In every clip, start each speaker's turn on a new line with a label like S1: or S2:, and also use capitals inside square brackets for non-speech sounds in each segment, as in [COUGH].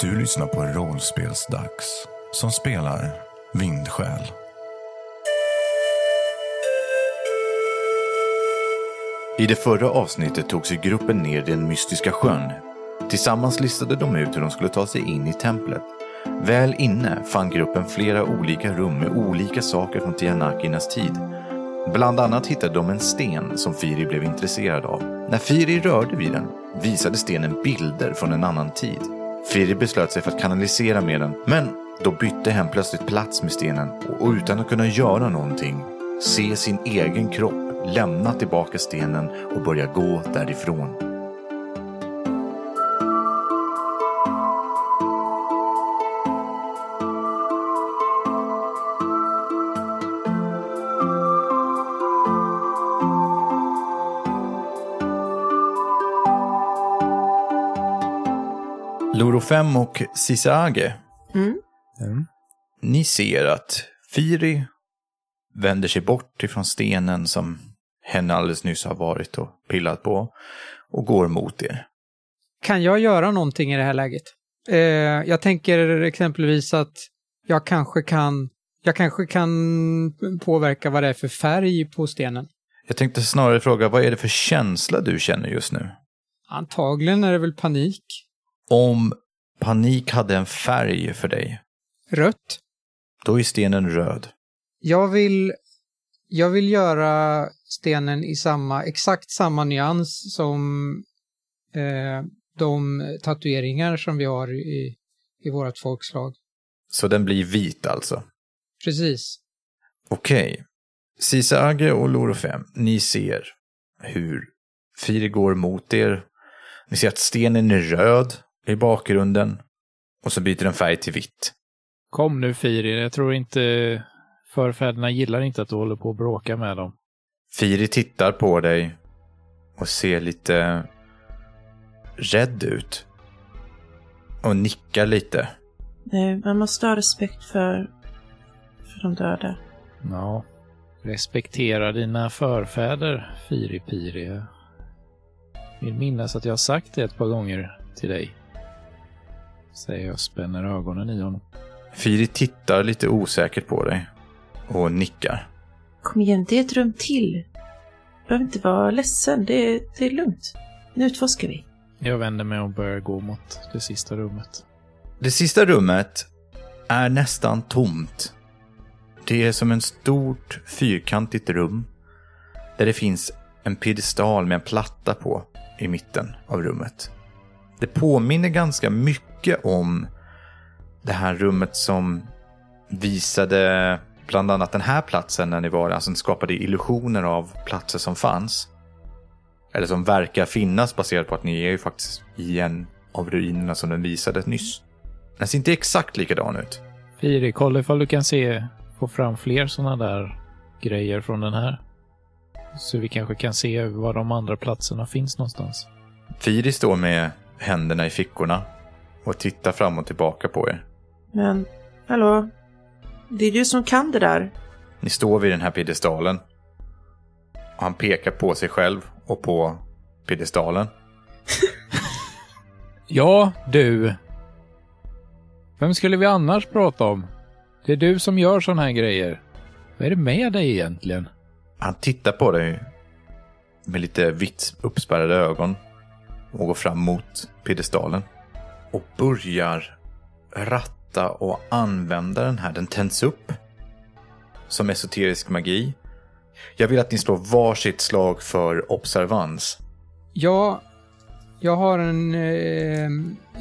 S1: Du lyssnar på Rollspelsdags som spelar Vindsjäl.
S2: I det förra avsnittet tog sig gruppen ner i den mystiska sjön. Tillsammans listade de ut hur de skulle ta sig in i templet. Väl inne fann gruppen flera olika rum med olika saker från Tianakinas tid. Bland annat hittade de en sten som Firi blev intresserad av. När Firi rörde vid den visade stenen bilder från en annan tid. Firi beslöt sig för att kanalisera med den, men då bytte hen plötsligt plats med stenen och utan att kunna göra någonting se sin egen kropp lämna tillbaka stenen och börja gå därifrån. Lorofem och Sisage.
S3: Mm.
S2: Ni ser att Firi vänder sig bort ifrån stenen som henne alldeles nyss har varit och pillat på och går mot er.
S3: Kan jag göra någonting i det här läget? Eh, jag tänker exempelvis att jag kanske kan jag kanske kan påverka vad det är för färg på stenen.
S2: Jag tänkte snarare fråga, vad är det för känsla du känner just nu?
S3: Antagligen är det väl panik.
S2: Om panik hade en färg för dig,
S3: Rött.
S2: då är stenen röd.
S3: Jag vill, jag vill göra stenen i samma, exakt samma nyans som eh, de tatueringar som vi har i, i vårt folkslag.
S2: Så den blir vit alltså.
S3: Precis.
S2: Okej. Sisage och Lorofem, ni ser hur Firi går mot er. Ni ser att stenen är röd i bakgrunden och så byter den färg till vitt.
S4: Kom nu Firi, jag tror inte förfäderna gillar inte att du håller på och bråkar med dem.
S2: Firi tittar på dig och ser lite rädd ut. Och nickar lite.
S5: Nej, Eh, man måste ha respekt för, för de döda.
S4: Ja. Respektera dina förfäder, Firi Piri. Jag vill minnas att jag har sagt det ett par gånger till dig. Säger jag och spänner ögonen i honom.
S2: Firi tittar lite osäkert på dig och nickar.
S5: Kom igen, det är ett rum till. Du behöver inte vara ledsen, det, det är lugnt. Nu utforskar vi.
S4: Jag vänder mig och börjar gå mot det sista rummet.
S2: Det sista rummet är nästan tomt. Det är som ett stort fyrkantigt rum där det finns en piedestal med en platta på i mitten av rummet. Det påminner ganska mycket om det här rummet som visade bland annat den här platsen när ni var, alltså skapade illusioner av platser som fanns. Eller som verkar finnas baserat på att ni är ju faktiskt i en av ruinerna som den visade nyss. Den ser inte exakt likadan ut.
S4: Firi, kolla ifall du kan se, få fram fler sådana där grejer från den här. Så vi kanske kan se var de andra platserna finns någonstans.
S2: Firi står med händerna i fickorna och tittar fram och tillbaka på er.
S5: Men, hallå? Det är du som kan det där.
S2: Ni står vid den här piedestalen. Och han pekar på sig själv och på piedestalen.
S4: Ja, du. Vem skulle vi annars prata om? Det är du som gör såna här grejer. Vad är det med dig egentligen?
S2: Han tittar på dig med lite vitt uppspärrade ögon och går fram mot piedestalen och börjar ratta och använda den här. Den tänds upp som esoterisk magi. Jag vill att ni slår varsitt slag för observans.
S3: Ja, jag har en eh,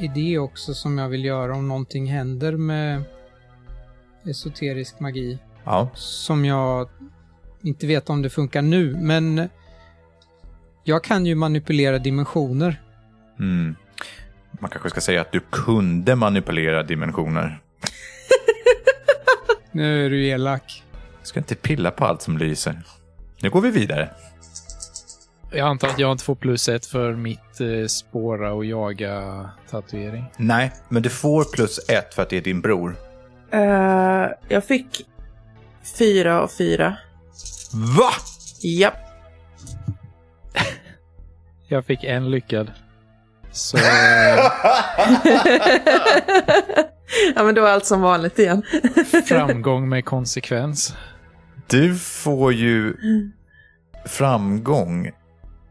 S3: idé också som jag vill göra om någonting händer med esoterisk magi.
S2: Ja,
S3: Som jag inte vet om det funkar nu, men jag kan ju manipulera dimensioner.
S2: Mm. Man kanske ska säga att du kunde manipulera dimensioner.
S3: Nu är du elak.
S2: Jag ska inte pilla på allt som lyser. Nu går vi vidare.
S4: Jag antar att jag inte får plus ett för mitt eh, spåra och jaga tatuering.
S2: Nej, men du får plus ett för att det är din bror.
S5: Eh, jag fick fyra och fyra.
S2: Va?
S5: Japp.
S4: Jag fick en lyckad. [LAUGHS] Så
S5: ja, men då är allt som vanligt igen.
S4: framgång med konsekvens.
S2: Du får ju framgång.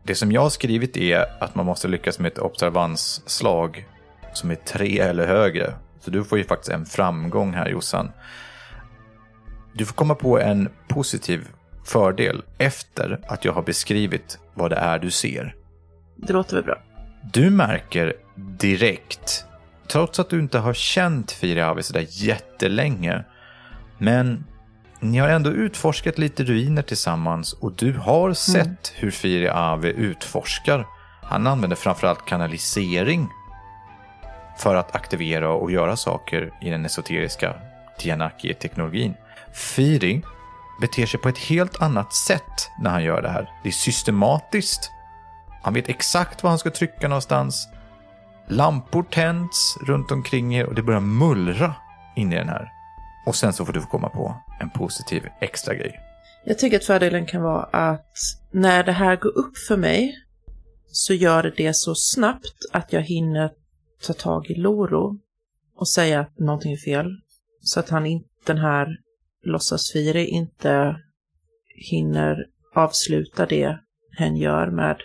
S2: Det som jag har skrivit är att man måste lyckas med ett observansslag som är tre eller högre. Så du får ju faktiskt en framgång här Jossan. Du får komma på en positiv fördel efter att jag har beskrivit vad det är du ser.
S5: Det låter väl bra.
S2: Du märker direkt, trots att du inte har känt Firiavi sådär jättelänge, men ni har ändå utforskat lite ruiner tillsammans och du har sett hur Firi Ave utforskar. Han använder framförallt kanalisering för att aktivera och göra saker i den esoteriska Tianaki-teknologin. Firi beter sig på ett helt annat sätt när han gör det här. Det är systematiskt. Han vet exakt var han ska trycka någonstans. Lampor tänds runt omkring er och det börjar mullra in i den här. Och sen så får du komma på en positiv extra grej.
S5: Jag tycker att fördelen kan vara att när det här går upp för mig så gör det det så snabbt att jag hinner ta tag i Loro och säga att någonting är fel. Så att han inte, den här låtsasfiri inte hinner avsluta det hen gör med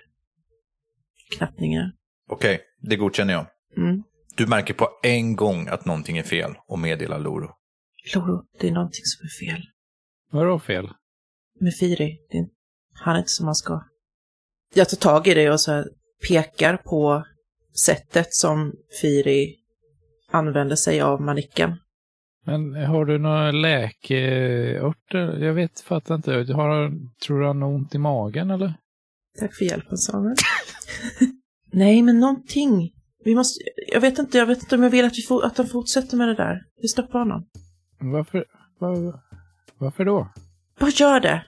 S5: knappningar.
S2: Okej, det godkänner jag.
S5: Mm.
S2: Du märker på en gång att någonting är fel och meddelar Loro.
S5: Loro, det är någonting som är fel
S4: Vadå fel?
S5: med Firi. Det är, han är inte som han ska. Jag tar tag i det och så här pekar på sättet som Firi använder sig av manicken.
S4: Men har du några läkeörter? Jag vet, fattar inte. Har, tror du han har ont i magen eller?
S5: Tack för hjälpen Samuel. [LAUGHS] Nej, men någonting. Vi måste, jag vet inte, jag vet inte om jag vill att, vi får, att han fortsätter med det där. Vi stoppar honom.
S4: Varför, var, varför då?
S5: Bara gör det!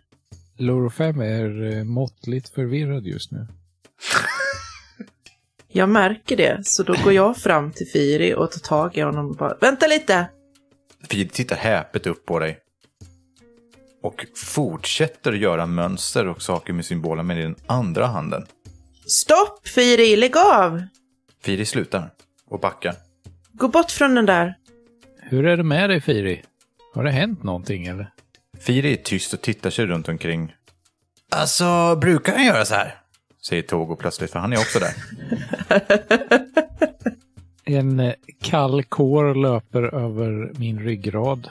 S4: Loro 5 är eh, måttligt förvirrad just nu.
S5: Jag märker det, så då går jag fram till Firi och tar tag i honom och bara Vänta lite!
S2: Fid tittar häpet upp på dig. Och fortsätter göra mönster och saker med symbolen med den andra handen.
S5: Stopp Firi, lägg av!
S2: Firi slutar och backar.
S5: Gå bort från den där!
S4: Hur är det med dig Firi? Har det hänt någonting eller?
S2: Firi är tyst och tittar sig runt omkring. Alltså, brukar han göra så här? Säger Togo plötsligt, för han är också [LAUGHS] där.
S4: En eh, kall kår löper över min ryggrad.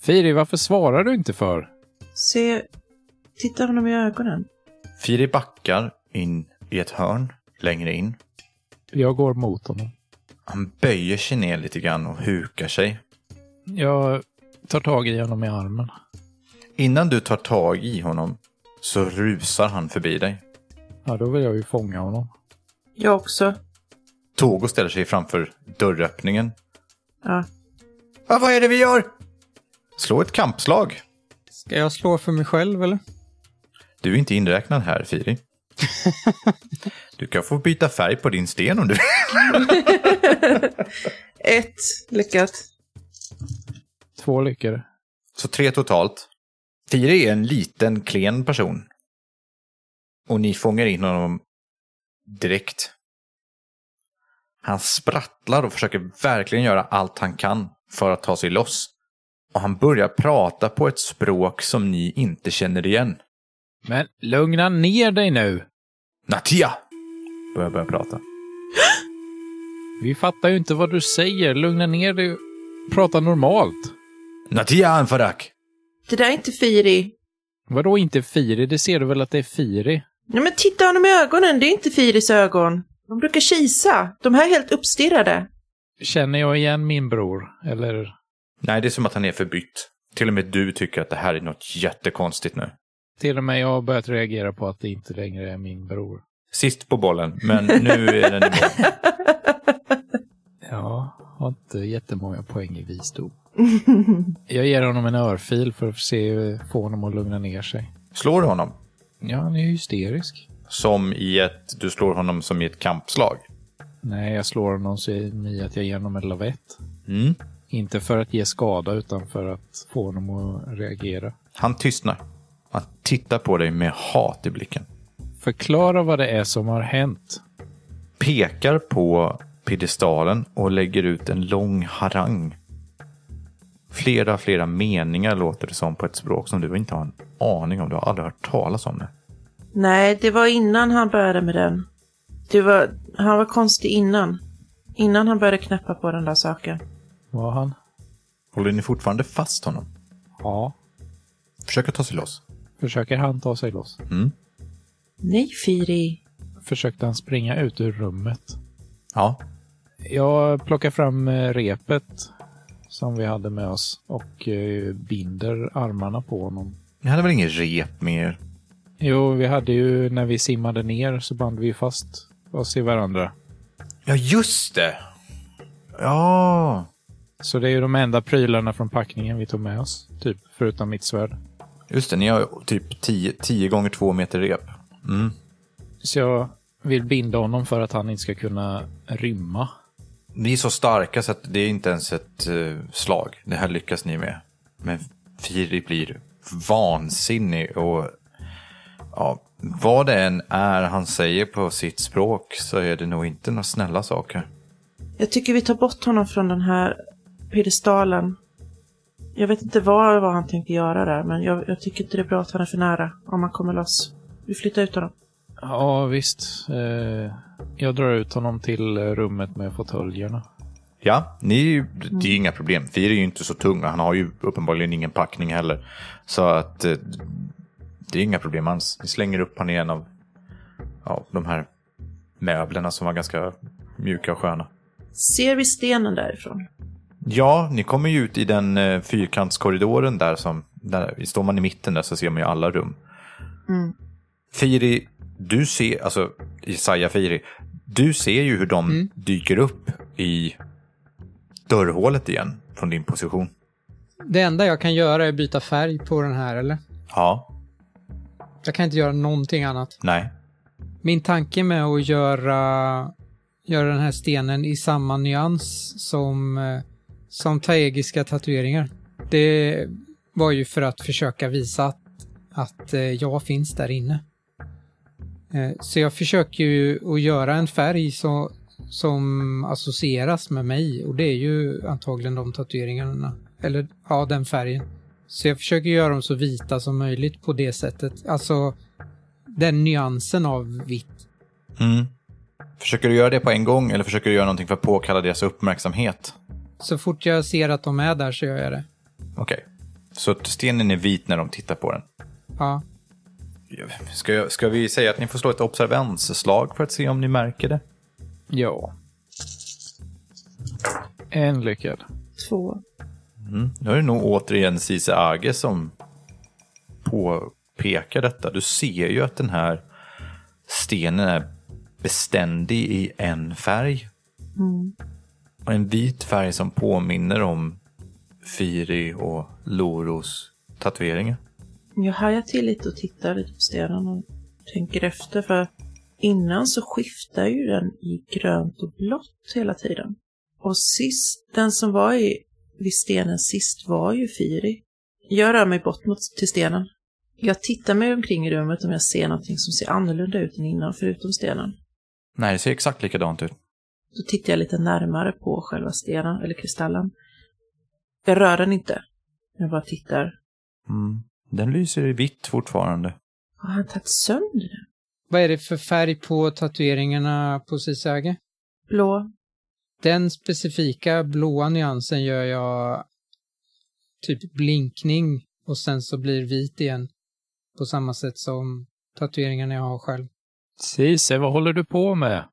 S4: Firi, varför svarar du inte för?
S5: Se, titta honom i ögonen.
S2: Firi backar in i ett hörn längre in.
S4: Jag går mot honom.
S2: Han böjer sig ner lite grann och hukar sig.
S4: Jag tar tag i honom i armen.
S2: Innan du tar tag i honom så rusar han förbi dig.
S4: Ja, då vill jag ju fånga honom.
S5: Jag också.
S2: Togo ställer sig framför dörröppningen.
S5: Ja.
S2: Ah, vad är det vi gör? Slå ett kampslag.
S3: Ska jag slå för mig själv eller?
S2: Du är inte inräknad här, [LAUGHS] Firi. Du kan få byta färg på din sten om du vill.
S5: Ett, lyckat.
S4: Två lyckade.
S2: Så tre totalt. Firi är en liten, klen person. Och ni fångar in honom direkt. Han sprattlar och försöker verkligen göra allt han kan för att ta sig loss. Och han börjar prata på ett språk som ni inte känner igen.
S4: Men lugna ner dig nu!
S2: Natia! Börjar börja prata.
S4: Vi fattar ju inte vad du säger. Lugna ner dig. Prata normalt.
S2: Natia Anfarak!
S5: Det där är inte Firi.
S4: Vadå inte Firi? Det ser du väl att det är Firi?
S5: Nej men titta honom i ögonen, det är inte Firis ögon. De brukar kisa. De här är helt uppstirrade.
S4: Känner jag igen min bror? Eller?
S2: Nej, det är som att han är förbytt. Till och med du tycker att det här är något jättekonstigt nu.
S4: Till och med jag har börjat reagera på att det inte längre är min bror.
S2: Sist på bollen, men nu är den i mål.
S4: Ja, har inte jättemånga poäng i visdom. jag ger honom en örfil för att se, få honom att lugna ner sig.
S2: Slår du honom?
S4: Ja, han är hysterisk.
S2: Som i ett... Du slår honom som i ett kampslag.
S4: Nej, jag slår honom så i att jag ger honom en lavett.
S2: Mm.
S4: Inte för att ge skada, utan för att få honom att reagera.
S2: Han tystnar. Han tittar på dig med hat i blicken.
S4: Förklara vad det är som har hänt.
S2: pekar på piedestalen och lägger ut en lång harang. Flera, flera meningar låter det som på ett språk som du inte har en aning om. Du har aldrig hört talas om det.
S5: Nej, det var innan han började med den. Det var, han var konstig innan. Innan han började knäppa på den där saken.
S4: Var han?
S2: Håller ni fortfarande fast honom?
S4: Ja.
S2: Försöker ta sig loss. Mm.
S4: Försöker han ta sig loss?
S5: Nej, Firi.
S4: Försökte han springa ut ur rummet?
S2: Ja,
S4: Jag plockar fram eh, repet som vi hade med oss och eh, binder armarna på honom.
S2: ni hade väl ingen rep med er?
S4: Jo, vi hade ju när vi simmade ner så band vi ju fast oss i varandra.
S2: Ja, just det! Ja!
S4: Så det är ju de enda prylarna från packningen vi tog med oss, typ, förutom mitt svärd.
S2: Just det, ni har typ 10 10 gånger 2 meter rep. Mm.
S4: Så jag vill binda honom för att han inte ska kunna rymma.
S2: Ni är så starka så att det är inte ens ett eh, slag. Det här lyckas ni med. Men Firi blir vansinnig och ja, vad det än är han säger på sitt språk så är det nog inte några snälla saker.
S5: Jag tycker vi tar bort honom från den här piedestalen. Jag vet inte vad, vad han tänkte göra där, men jag, jag tycker inte det är bra att han är för nära om han kommer loss. Vi flyttar ut honom.
S4: Ja, visst. Eh, Jag drar ut honom till eh, rummet med fåtöljerna.
S2: Ja, ni, är ju- det är ju inga problem. Firi är ju inte så tung och han har ju uppenbarligen ingen packning heller. Så att eh, det är inga problem alls. Ni slänger upp honom i en av ja, de här möblerna som var ganska mjuka och sköna.
S5: Ser vi stenen därifrån?
S2: Ja, ni kommer ju ut i den eh, fyrkantskorridoren där som... Där, står man i mitten där så ser man ju alla rum.
S5: Mm.
S2: Firi, du ser... Alltså, Isaiah Firi. Du ser ju hur de
S3: Mm.
S2: dyker upp i dörrhålet igen från din position.
S3: Det enda jag kan göra är byta färg på den här, eller?
S2: Ja,
S3: Jag kan inte göra någonting annat.
S2: nej.
S3: Min tanke med att göra, göra den här stenen i samma nyans som, eh, som taegiska tatueringar, det var ju för att försöka visa att, att eh, jag finns där inne. Eh, Så jag försöker ju att göra en färg så, som associeras med mig och det är ju antagligen de tatueringarna, eller ja, den färgen. Så jag försöker göra dem så vita som möjligt på det sättet. Alltså den nyansen av vitt.
S2: Mm. Försöker du göra det på en gång eller försöker du göra någonting för att påkalla deras uppmärksamhet?
S3: Så fort jag ser att de är där så gör jag det.
S2: Okej. Så att stenen är vit när de tittar på den.
S3: Ja,
S2: Ska, jag, ska vi säga att ni får slå ett observansslag för att se om ni märker det?
S4: Ja. En lyckad.
S5: Två.
S2: Nu är det nog återigen Cise Age som påpekar detta. Du ser ju att den här stenen är beständig i en färg.
S5: Mm.
S2: Och en vit färg som påminner om Firi och Loros tatueringar.
S5: Jag hajar till lite och tittar lite på stenen och tänker efter för innan så skiftar ju den i grönt och blått hela tiden. Och sist, den som var i, vid stenen sist var ju Firi. Jag rör mig bort mot, till stenen. Jag tittar mig omkring i rummet om jag ser någonting som ser annorlunda ut än innan förutom stenen.
S2: Nej, det ser exakt likadant ut.
S5: Då tittar jag lite närmare på själva stenen eller kristallen. Jag rör den inte. Jag bara tittar.
S2: Mm. Den lyser i vitt fortfarande.
S5: Har han tagit sönder den?
S3: vad är det för färg på tatueringarna på Sisage?
S5: Blå?
S3: Den specifika blåa nyansen gör jag typ blinkning och sen så blir vit igen. På samma sätt som tatueringarna jag har själv.
S4: Cise, vad håller du på med?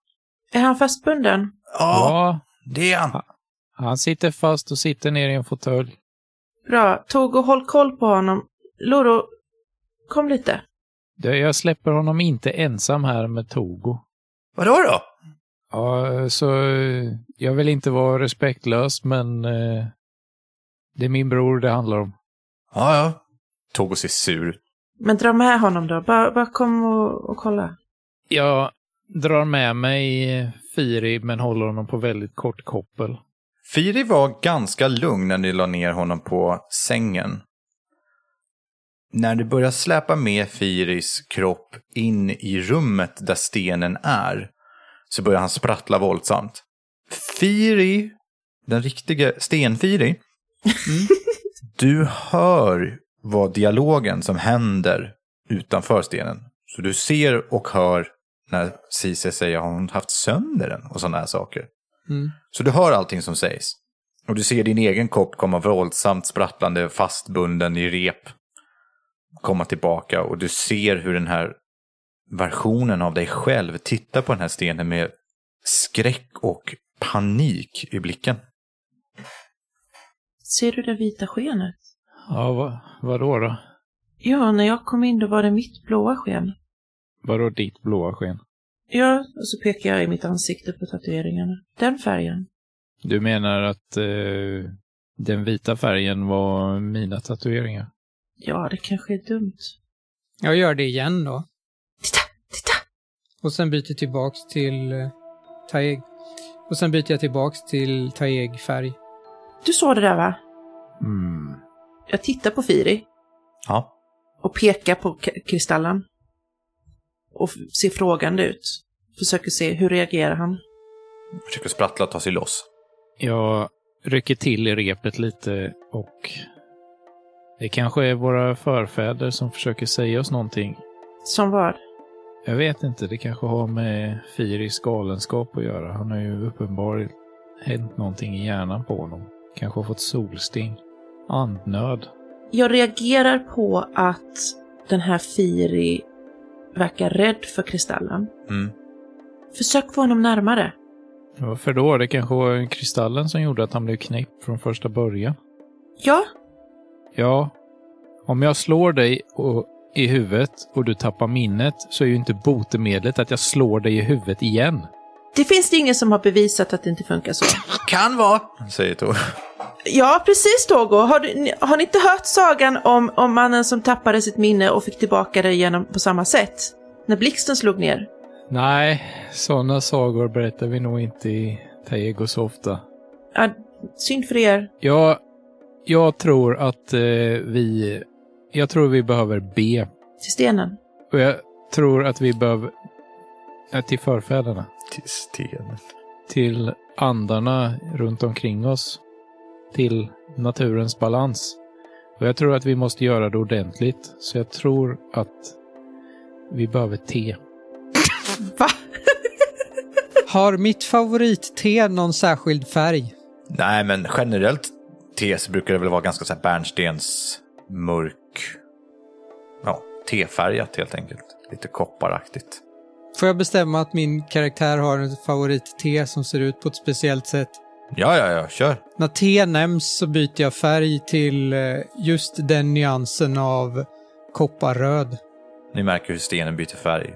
S5: Är han fastbunden?
S4: Ja,
S2: det är han!
S4: han sitter fast och sitter ner i en fåtölj.
S5: Bra. Tog och håll koll på honom. Loro, kom lite.
S4: Det- Jag släpper honom inte ensam här med Togo.
S2: Vadå då?
S4: Ja, så eh, jag vill inte vara respektlös, men eh, det är min bror det handlar om.
S2: Ja, ja. Togo ser sur ut.
S5: Men dra med honom då. Bara, bara kom och, och kolla.
S4: Jag drar med mig eh, Firi, men håller honom på väldigt kort koppel.
S2: Firi var ganska lugn när ni la ner honom på sängen. När du börjar släpa med Firis kropp in i rummet där stenen är så börjar han sprattla våldsamt. Firi, den riktiga Stenfiri, du hör vad dialogen som händer utanför stenen. Så du ser och hör när Cise säger har hon haft sönder den och sådana här saker.
S3: Mm.
S2: Så du hör allting som sägs. Och du ser din egen kopp komma våldsamt sprattlande fastbunden i rep komma tillbaka och du ser hur den här versionen av dig själv tittar på den här stenen med skräck och panik i blicken.
S5: Ser du det vita skenet?
S4: Ja, vad, vadå då?
S5: Ja, när jag kom in då var det mitt blåa sken.
S4: Vadå ditt blåa sken?
S5: Ja, och så pekar jag i mitt ansikte på tatueringarna. Den färgen.
S4: Du menar att eh, den vita färgen var mina tatueringar?
S5: Ja, det kanske är dumt.
S3: Jag gör det igen då.
S5: Titta, titta!
S3: Och sen byter tillbaks till eh, Taeg. Och sen byter jag tillbaks till Taeg-färg.
S5: Du såg det där va?
S4: Mm.
S5: Jag tittar på Firi
S2: Ja.
S5: och pekar på k- kristallen. Och f- ser frågande ut. Försöker se, hur reagerar han?
S2: Försöker sprattla och ta sig loss.
S4: Jag rycker till i repet lite och det kanske är våra förfäder som försöker säga oss någonting.
S5: Som vad?
S4: Jag vet inte, det kanske har med Firis galenskap att göra. Han har ju uppenbarligen hänt någonting i hjärnan på honom. Kanske har fått solsting. Andnöd.
S5: Jag reagerar på att den här Firi verkar rädd för kristallen.
S2: Mm.
S5: Försök få honom närmare.
S4: Varför då? Det kanske var kristallen som gjorde att han blev knäpp från första början.
S5: Ja,
S4: Ja, om jag slår dig och, i huvudet och du tappar minnet så är ju inte botemedlet att jag slår dig i huvudet igen.
S5: det finns det ingen som har bevisat att det inte funkar så.
S2: Kan vara, säger Tor. [LAUGHS]
S5: Ja, precis Togo. Har, du, ni- har ni inte hört sagan om, om mannen som tappade sitt minne och fick tillbaka det genom på samma sätt? När blixten slog ner.
S4: Nej, sådana sagor berättar vi nog inte i Taego så ofta.
S5: Ja, synd för er.
S4: Jag, jag tror att eh, vi... Jag tror vi behöver be.
S5: Till stenen.
S4: Och jag tror att vi behöver... eh, till förfäderna.
S2: Till stenen.
S4: Till andarna runt omkring oss. Till naturens balans. Och jag tror att vi måste göra det ordentligt. Så jag tror att vi behöver te.
S5: Va?
S3: Har mitt favorit-te någon särskild färg?
S2: Nej, men generellt tes brukar det väl vara ganska så här bärnstens mörk. Ja, tefärgat helt enkelt. Lite kopparaktigt.
S3: Får jag bestämma att min karaktär har en favorit-te som ser ut på ett speciellt sätt?
S2: Ja, ja, ja, kör.
S3: När te nämns så byter jag färg till eh, just den nyansen av kopparröd.
S2: Ni märker hur stenen byter färg.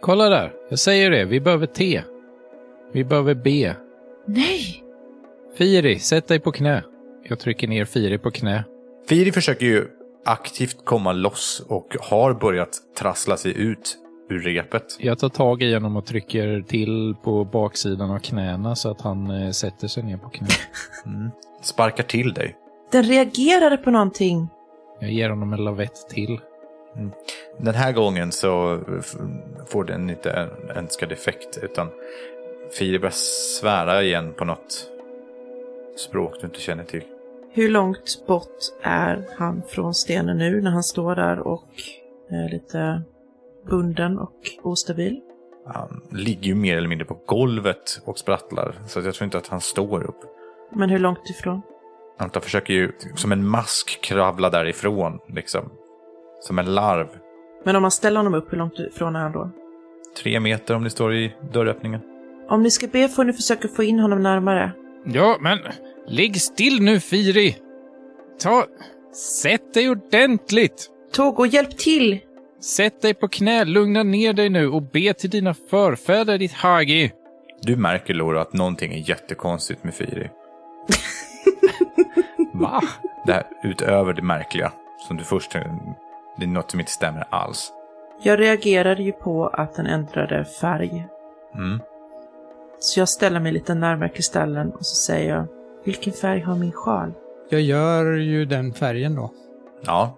S4: Kolla där! Jag säger det, vi behöver te. Vi behöver be.
S5: Nej!
S4: Firi, sätt dig på knä. Jag trycker ner Firi på knä.
S2: Firi försöker ju aktivt komma loss och har börjat trassla sig ut ur repet.
S4: Jag tar tag i honom och trycker till på baksidan av knäna så att han eh, sätter sig ner på knä.
S2: Sparkar till dig.
S5: Den reagerade på någonting.
S4: Jag ger honom en lavett till.
S2: Den här gången så f- får den inte en önskad effekt utan Firi börjar svära igen på något språk du inte känner till.
S5: Hur långt bort är han från stenen nu när han står där och är lite bunden och ostabil?
S2: Han ligger ju mer eller mindre på golvet och sprattlar. Så att jag tror inte att han står upp.
S5: Men hur långt ifrån?
S2: Han tar- försöker ju som en mask kravla därifrån. Liksom. Som en larv.
S5: Men om man ställer honom upp, hur långt ifrån är han då?
S2: Tre meter om ni står i dörröppningen.
S5: Om ni ska be får ni försöka få in honom närmare.
S4: Ja, men ligg still nu Firi! Ta... Sätt dig ordentligt!
S5: Togo, hjälp till!
S4: Sätt dig på knä, lugna ner dig nu och be till dina förfäder, ditt Hagi!
S2: Du märker Laura att någonting är jättekonstigt med Firi.
S4: Va?
S2: Det här utöver det märkliga. Som du först... Det är något som inte stämmer alls.
S5: Jag reagerade ju på att den ändrade färg.
S2: Mm.
S5: Så jag ställer mig lite närmare kristallen och så säger jag Vilken färg har min sjal?
S3: Jag gör ju den färgen då.
S2: Ja.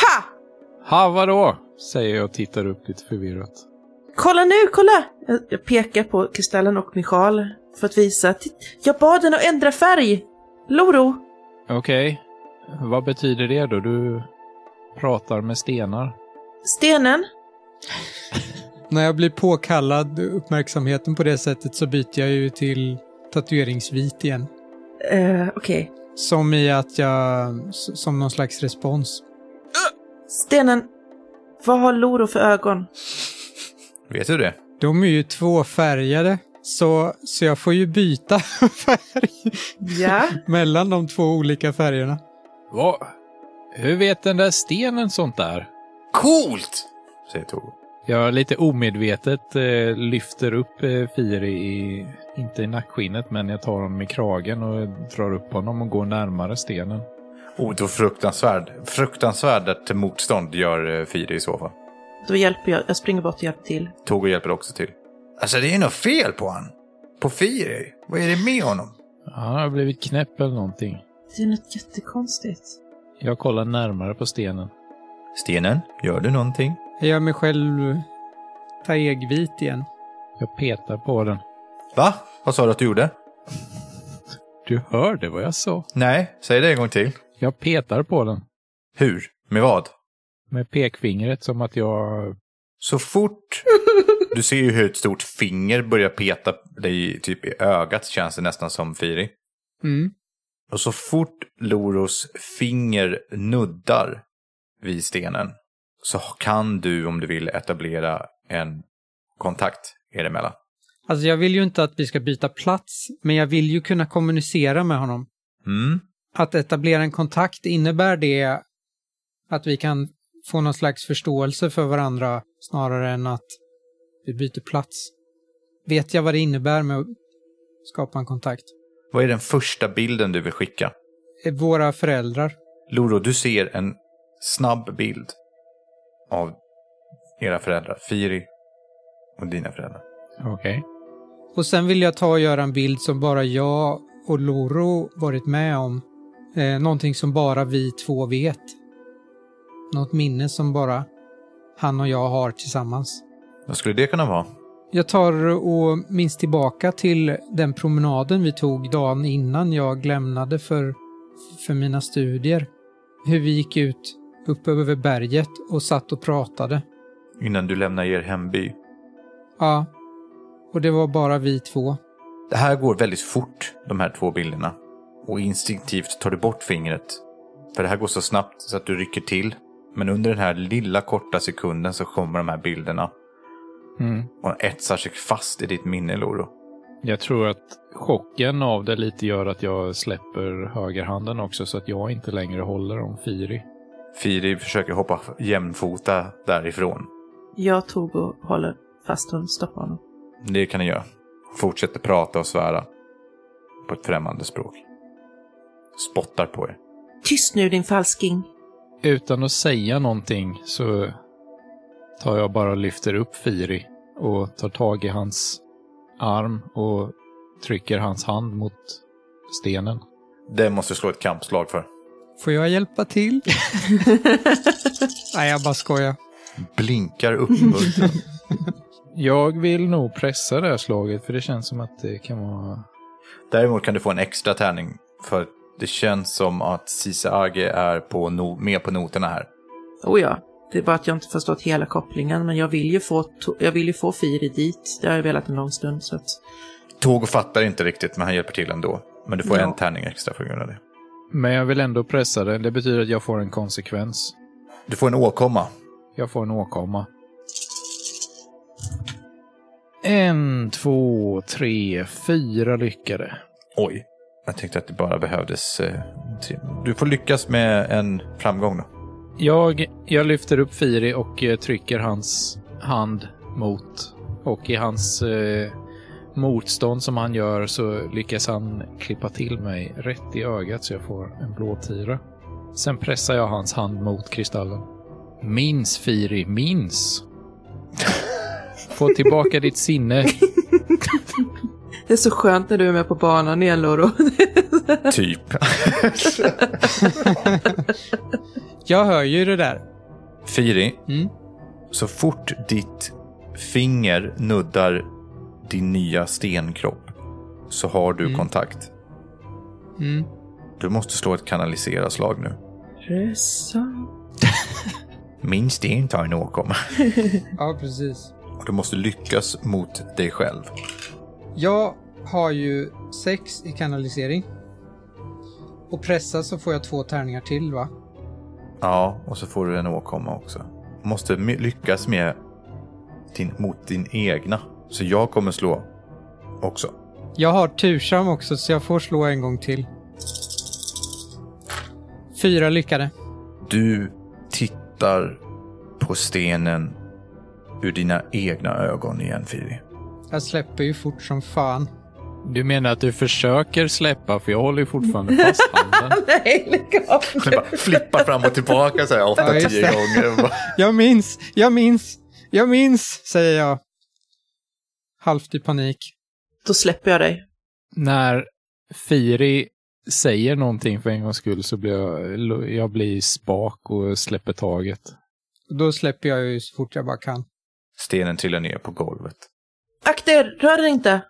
S5: Ha!
S4: Ha, vadå? Säger jag och tittar upp lite förvirrat.
S5: Kolla nu, kolla! Jag, jag pekar på kristallen och min sjal för att visa. att Jag bad den att ändra färg! Loro!
S4: Okej. Vad betyder det då? Du pratar med stenar.
S5: Stenen?
S3: När jag blir påkallad uppmärksamheten på det sättet så byter jag ju till tatueringsvit igen.
S5: Eh, Okej.
S3: Som i att jag, s- som någon slags respons.
S5: Stenen, vad har Loro för ögon?
S2: Vet du det?
S3: De är ju tvåfärgade, så, så jag får ju byta [LAUGHS] färg
S5: [LAUGHS] Ja.
S3: mellan de två olika färgerna.
S4: Vad? Hur vet den där stenen sånt där?
S2: Coolt! Säger Togo.
S4: Jag lite omedvetet eh, lyfter upp eh, Firi i, inte i nackskinnet, men jag tar honom i kragen och drar upp honom och går närmare stenen.
S2: Oh, då fruktansvärd. Fruktansvärt motstånd gör eh, Firi i så fall.
S5: Då hjälper jag. Jag springer bort och hjälper till.
S2: Togo hjälper också till. Alltså det är något fel på han. På Firi. Vad är det med honom?
S4: Han har blivit knäpp eller någonting.
S5: Det är något jättekonstigt.
S4: Jag kollar närmare på stenen.
S2: Stenen, gör du någonting?
S3: Jag gör mig själv taegvit igen.
S4: Jag petar på den.
S2: Va? Vad sa du att du gjorde?
S4: Du hörde vad jag sa.
S2: Nej, säg det en gång till.
S4: Jag petar på den
S2: Hur? Med vad?
S4: med pekfingret som att jag...
S2: Så fort du ser ju hur ett stort finger börjar peta dig typ i ögat känns det nästan som Firi.
S3: Mm.
S2: Och så fort Loros finger nuddar vid stenen så kan du om du vill etablera en kontakt er emellan.
S3: Alltså jag vill ju inte att vi ska byta plats, men jag vill ju kunna kommunicera med honom.
S2: Mm.
S3: Att etablera en kontakt, innebär det att vi kan få någon slags förståelse för varandra snarare än att vi byter plats? Vet jag vad det innebär med att skapa en kontakt?
S2: Vad är den första bilden du vill skicka?
S3: Eh, Våra föräldrar.
S2: Loro, du ser en snabb bild av era föräldrar, Firi och dina föräldrar.
S4: Okej.
S3: Och sen vill jag ta och göra en bild som bara jag och Loro varit med om. Eh, någonting som bara vi två vet. Något minne som bara han och jag har tillsammans.
S2: Vad skulle det kunna vara?
S3: Jag tar och minns tillbaka till den promenaden vi tog dagen innan jag lämnade för, för mina studier. Hur vi gick ut upp över berget och satt och pratade.
S2: Innan du lämnar er hemby.
S3: Ja, och det var bara vi två.
S2: Det här går väldigt fort, de här två bilderna. Och instinktivt tar du bort fingret. För det här går så snabbt så att du rycker till. Men under den här lilla korta sekunden så kommer de här bilderna
S4: Mm.
S2: och etsar sig fast i ditt minne, Loro.
S4: Jag tror att chocken av det lite gör att jag släpper högerhanden också så att jag inte längre håller om Firi.
S2: Firi försöker hoppa jämfota därifrån.
S5: Jag tog och håller fast hon stoppar honom.
S2: Det kan ni göra. Fortsätter prata och svära. På ett främmande språk. Spottar på er.
S5: Tyst nu din falsking!
S4: Utan att säga någonting så tar jag bara och lyfter upp Firi och tar tag i hans arm och trycker hans hand mot stenen.
S2: Det måste du slå ett kampslag för.
S3: Får jag hjälpa till? [LAUGHS] Nej, jag bara skojar.
S2: Blinkar uppmuntran.
S4: Jag vill nog pressa det här slaget för det känns som att det kan vara...
S2: Däremot kan du få en extra tärning. För det känns som att Cisse Age är på no- med på noterna här.
S5: oh ja. Det är bara att jag inte förstått hela kopplingen, men jag vill ju få, to- jag vill ju få Firi dit. Det har jag velat en lång stund, så att...
S2: Togo fattar inte riktigt, men han hjälper till ändå. Men du får
S5: Ja.
S2: en tärning extra för grund av det.
S4: Men jag vill ändå pressa det. Det betyder att jag får en konsekvens.
S2: Du får en åkomma.
S4: Jag får en åkomma. En, två, tre, fyra lyckade.
S2: Oj. Jag tänkte att det bara behövdes... Eh, tre. du får lyckas med en framgång då.
S4: Jag, jag lyfter upp Firi och eh, trycker hans hand mot och i hans eh, motstånd som han gör så lyckas han klippa till mig rätt i ögat så jag får en blåtira. Sen pressar jag hans hand mot kristallen. Minns Firi, minns! Få tillbaka ditt sinne.
S5: Det är så skönt när du är med på banan igen, Loro.
S2: Typ.
S3: Jag hör ju det där.
S2: Firi,
S3: Mm.
S2: så fort ditt finger nuddar din nya stenkropp så har du
S3: Mm.
S2: kontakt.
S3: Mm.
S2: Du måste slå ett kanalisera-slag nu.
S5: Intressant.
S2: Min sten tar en åkomma.
S3: Ja, precis.
S2: Och Du måste lyckas mot dig själv.
S3: Jag har ju sex i kanalisering. Och pressa så får jag två tärningar till va?
S2: Ja, och så får du en åkomma också. Måste my- lyckas med din, mot din egna. Så jag kommer slå också.
S3: Jag har tursam också så jag får slå en gång till. Fyra lyckade.
S2: Du tittar på stenen ur dina egna ögon igen, Firi.
S3: Jag släpper ju fort som fan.
S4: Du menar att du försöker släppa för jag håller ju fortfarande fast
S5: [LAUGHS]
S4: handen.
S5: Nej, lägg av
S2: Den bara flippar fram och tillbaka så här
S3: [LAUGHS] Ja, just
S2: 8-10
S3: det.
S2: gånger.
S3: Jag minns, jag minns, jag minns, säger jag. Halvt i panik.
S5: Då släpper jag dig.
S4: När Firi säger någonting för en gångs skull så blir jag, jag blir spak och släpper taget.
S3: Då släpper jag ju så fort jag bara kan.
S2: Stenen trillar ner på golvet.
S5: Akta er, rör er inte!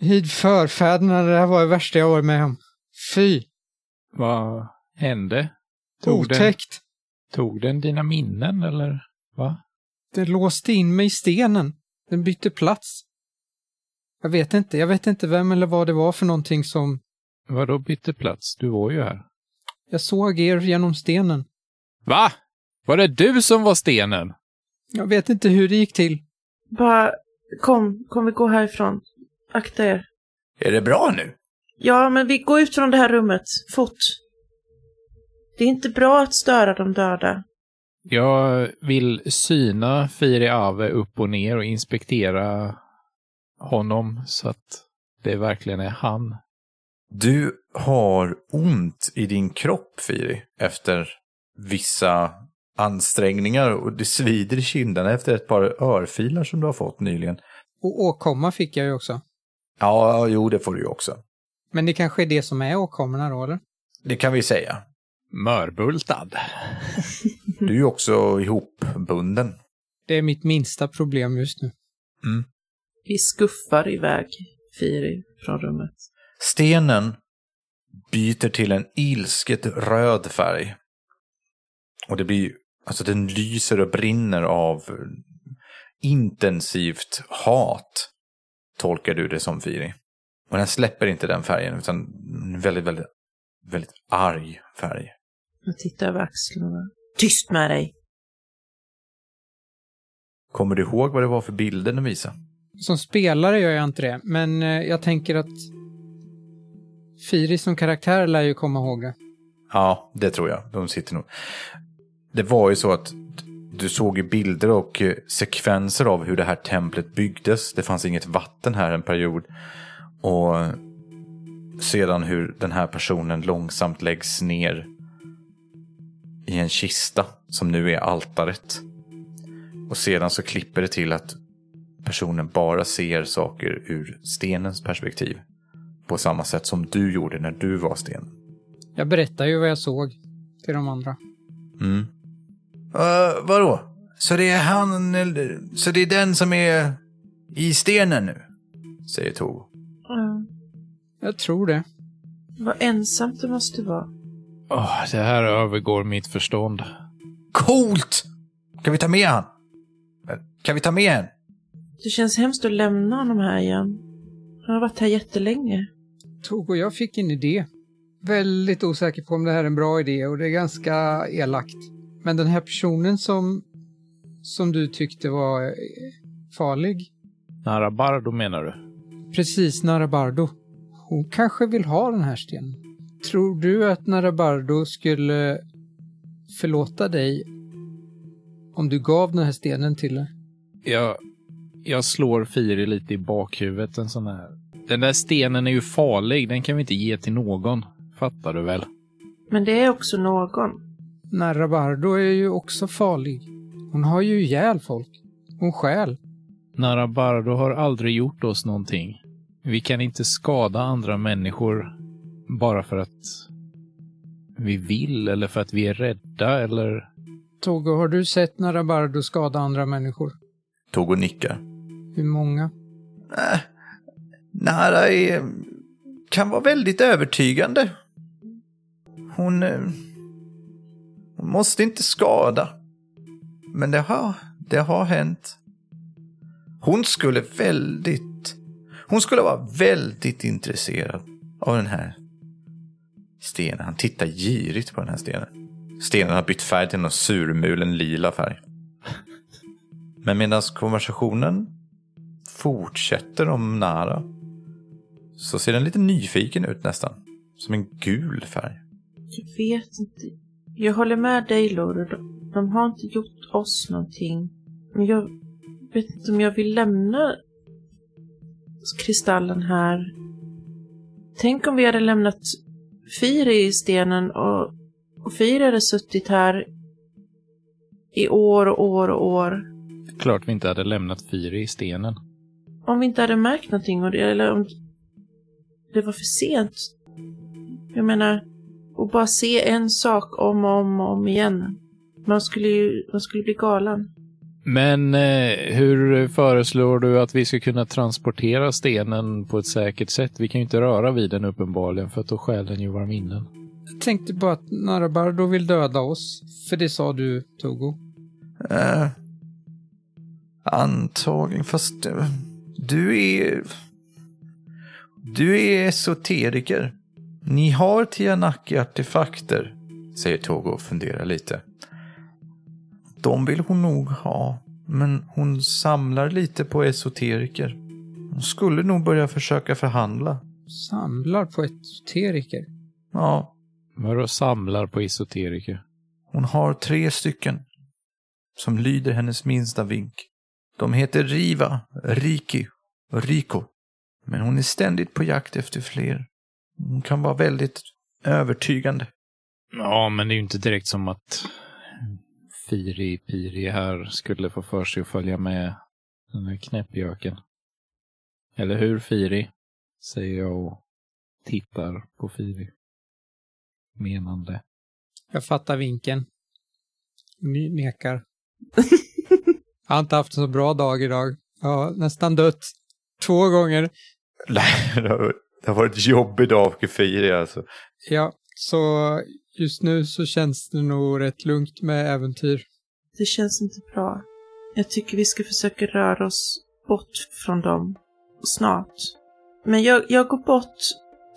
S3: Hyd förfäderna, det här var det värsta jag varit med om. Fy,
S4: Vad hände? Tog den,
S3: otäckt.
S4: tog den dina minnen eller? Va?
S3: Den låste in mig i stenen. Den bytte plats. Jag vet inte. Jag vet inte vem eller vad det var för någonting som...
S4: Vadå bytte plats? Du var ju här.
S3: Jag såg er genom stenen.
S4: Va? Var det du som var stenen?
S3: Jag vet inte hur det gick till.
S5: Bara, kom, kom vi går härifrån. Akta er.
S2: Är det bra nu?
S5: Ja, men vi går ut från det här rummet, fort. Det är inte bra att störa de döda.
S4: Jag vill syna Firi Ave upp och ner och inspektera honom så att det verkligen är han.
S2: Du har ont i din kropp, Firi, efter vissa ansträngningar och det svider i kinderna efter ett par örfilar som du har fått nyligen.
S3: Och åkomma fick jag ju också.
S2: Ja, jo, det får du ju också.
S3: Men det kanske är det som är åkommorna då, eller?
S2: Det kan vi säga.
S4: Mörbultad.
S2: Du är ju också ihopbunden.
S3: Det är mitt minsta problem just nu.
S5: Vi skuffar iväg Firi från rummet.
S2: Stenen byter till en ilsket röd färg. Och det blir, alltså den lyser och brinner av intensivt hat, tolkar du det som Firi. Och den släpper inte den färgen, utan en väldigt, väldigt, väldigt arg färg.
S5: Jag tittar över axlarna. Tyst med dig!
S2: Kommer du ihåg vad det var för bilder den visade?
S3: Som spelare gör jag inte det, men eh, jag tänker att... Firi som karaktär lär ju komma ihåg det.
S2: Ja, det tror jag. De sitter nog. Det var ju så att du såg ju bilder och eh, sekvenser av hur det här templet byggdes. Det fanns inget vatten här en period. Och sedan hur den här personen långsamt läggs ner i en kista som nu är altaret. Och sedan så klipper det till att personen bara ser saker ur stenens perspektiv. På samma sätt som du gjorde när du var sten.
S3: Jag berättar ju vad jag såg till de andra.
S2: Mm. Uh, vadå? Så det är han, eller- så det är den som är i stenen nu? Säger Togo.
S5: Ja,
S3: Jag tror det.
S5: vad ensamt det måste vara.
S4: Åh, det här övergår mitt förstånd.
S2: Coolt! Kan vi ta med han? Eh, Kan vi ta med henne?
S5: Det känns hemskt att lämna honom här igen. Han har varit här jättelänge.
S3: Togo, jag fick en idé. Väldigt osäker på om det här är en bra idé och det är ganska elakt. Men den här personen som, som du tyckte var eh, farlig,
S4: Narabardo menar du?
S3: precis Narabardo, hon kanske vill ha den här stenen. Tror du att Narabardo skulle förlåta dig om du gav den här stenen till henne?
S4: Jag, jag slår Firi lite i bakhuvudet en sån här. Den där stenen är ju farlig. Den kan vi inte ge till någon. Fattar du väl?
S5: Men det är också någon.
S3: Narabardo är ju också farlig. Hon har ju ihjäl folk. Hon stjäl.
S4: Narabardo har aldrig gjort oss någonting. Vi kan inte skada andra människor bara för att vi vill eller för att vi är rädda eller...
S3: Togo, har du sett Narabardo skada andra människor?
S2: Togo nickar.
S3: Hur många?
S2: Äh, Nara är, kan vara väldigt övertygande. Hon, eh, hon måste inte skada. Men det har, det har hänt. Hon skulle väldigt... Hon skulle vara väldigt intresserad av den här stenen. Han tittar girigt på den här stenen. Stenen har bytt färg till någon surmulen lila färg. Men medan konversationen fortsätter om Nara så ser den lite nyfiken ut nästan. Som en gul färg.
S5: Jag vet inte. Jag håller med dig Loro. De, de har inte gjort oss någonting. Men jag vet inte om jag vill lämna kristallen här. Tänk om vi hade lämnat Firi i stenen och, och Firi hade suttit här i år och år och år.
S4: Klart vi inte hade lämnat Firi i stenen.
S5: Om vi inte hade märkt någonting och det, eller om det var för sent. Jag menar, och bara se en sak om och om och om igen. Man skulle ju man skulle bli galen.
S4: Men eh, hur föreslår du att vi ska kunna transportera stenen på ett säkert sätt? Vi kan ju inte röra vid den uppenbarligen för att då stjäl den ju våra minnen.
S3: Jag tänkte bara att Narabardo vill döda oss, för det sa du, Togo.
S2: Eh, antagligen, fast eh, du är... Du är esoteriker. Ni har Tianaki-artefakter, säger Togo och funderar lite. De vill hon nog ha, men hon samlar lite på esoteriker. Hon skulle nog börja försöka förhandla.
S3: Samlar på esoteriker.
S2: Ja,
S4: Vadå samlar på esoteriker?
S2: Hon har tre stycken som lyder hennes minsta vink. De heter Riva, Riki och Riko. Men hon är ständigt på jakt efter fler. Hon kan vara väldigt övertygande.
S4: Ja, men det är ju inte direkt som att Firi Piri här skulle få för sig att följa med den här knäppjöken. Eller hur Firi? Säger jag och tittar på Firi. Menande.
S3: Jag fattar vinken. Ne- Nekar. Jag har inte haft en så bra dag idag. Jag har nästan dött. Två gånger.
S2: [LAUGHS] det har varit jobbig dag för Firi alltså.
S3: Ja, så just nu så känns det nog rätt lugnt med äventyr.
S5: Det känns inte bra. Jag tycker vi ska försöka röra oss bort från dem snart. Men jag, jag går bort,